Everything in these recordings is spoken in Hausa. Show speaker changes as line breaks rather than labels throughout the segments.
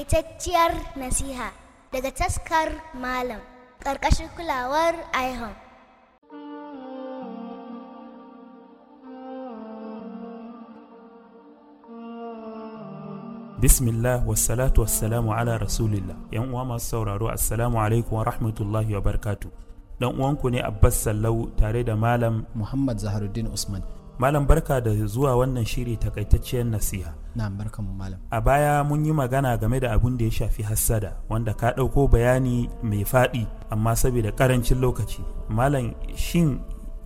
Takaitacciyar nasiha daga taskar Malam ƙarƙashin kulawar IHOM.
Bismillah wassalatu wassalamu ala rasulillah yan uwa masu sauraro assalamu alaikum wa rahmatullahi wa barkatu dan uwanku ne Abbas Sallau tare da malam
Muhammad Zaharuddin Usman.
malam barka da zuwa wannan shiri takaitacciyar nasiha
Na'am barkanmu malam.
a baya mun yi magana game da abun da ya shafi hassada wanda ka ɗauko bayani mai faɗi amma saboda ƙarancin lokaci malam shin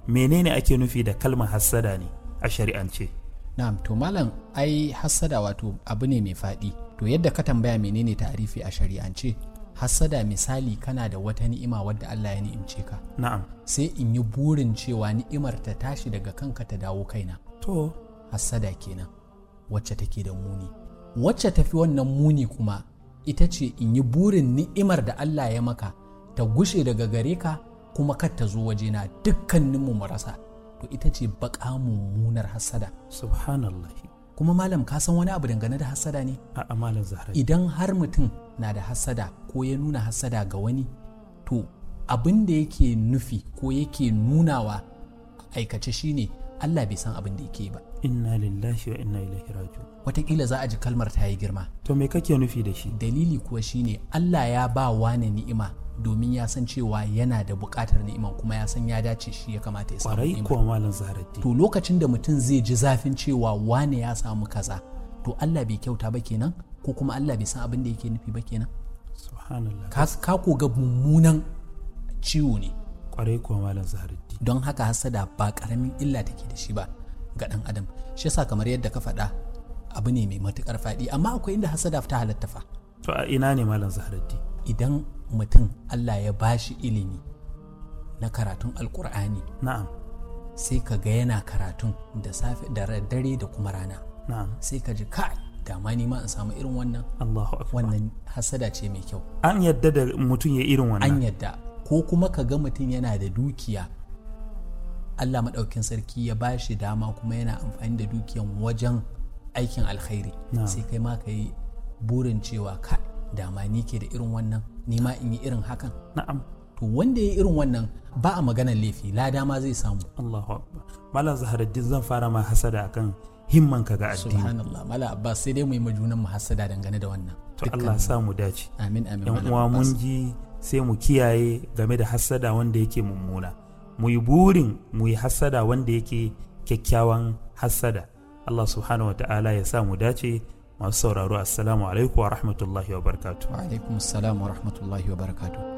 menene ake nufi da kalmar hassada ne a shari'ance
Na'am to malam ai hassada wato abu ne mai faɗi. To yadda ka tambaya menene ta'arifi a shari'ance? Hassada misali kana da wata ni'ima wadda Allah ya ni'imce ka.
na'am
Sai in yi burin cewa ni'imar ta tashi daga kanka ta dawo kaina.
to
Hassada kenan wacce take da muni. Wacce tafi wannan muni kuma ita ce in yi burin ni'imar da Allah ya maka ta gushe daga gare ka kuma kar ta zo wajena dukkaninmu mu rasa. To ita ce baƙa mummunar hassada.
subhanallah
kuma malam ka san wani abu dangane da hassada ne
a malam zahra
idan har mutum na da hassada ko ya nuna hassada ga wani to abin da yake nufi ko yake nunawa a aikace shine Allah bai san abin da yake ba
inna lillahi wa inna ilaihi raji'un
wataƙila za a ji kalmar ta yi girma
to me kake nufi da shi
dalili kuwa shine Allah ya ba wani ni'ima domin ya san cewa yana da buƙatar ni'iman kuma ya san ya dace shi ya kamata ya samu
kwarai
ni'ima
kuwa malam zaharaddin
to lokacin da mutum zai ji zafin cewa wane ya samu kaza to Allah bai kyauta ba kenan ko kuma Allah bai san abin da yake nufi ba kenan
subhanallah
ka ka ko ga mummunan ciwo ne
kwarai kuwa malam zaharaddin
don haka hasada ba karamin illa take da shi ba ga dan adam shi yasa kamar yadda ka faɗa abu ne mai matukar faɗi amma akwai inda hasada ta halatta fa
to a ina ne malam zaharaddin
idan mutum Allah ya bashi ilimi na karatun alkur'ani
na'am
sai ka ga yana karatun da safe da dare da kuma rana
na'am
sai ka ji kai dama ni ma in samu irin wannan
Allahu akbar
wannan hasada ce mai kyau
an yadda da mutum ya irin
an
wannan
yadda ko kuma ka ga mutum yana da dukiya Allah maɗaukin sarki ya ba shi dama kuma yana amfani da dukiyan wajen aikin alkhairi
Na'am.
sai kai ma ka yi burin cewa ka dama ni ke da irin wannan ni ma in yi irin hakan
na'am
to wanda ya yi irin wannan ba a maganar laifi lada ma zai samu
Allahu akbar malam zaharaddin zan fara ma hasada akan himmanka ga addini
subhanallah mala abbas sai dai mu yi majunan mu hasada dangane da wannan
to Allah sa mu dace
amin amin
yan
Malam
uwa
Abbas.
mun ji sai mu kiyaye game da hasada wanda yake mummuna mu yi burin mu yi hasada wanda yake kyakkyawan hasada Allah subhanahu wataala ya sa mu dace masu sauraro assalamu alaikum wa rahmatullahi wa barakatuh
وعليكم السلام ورحمة الله وبركاته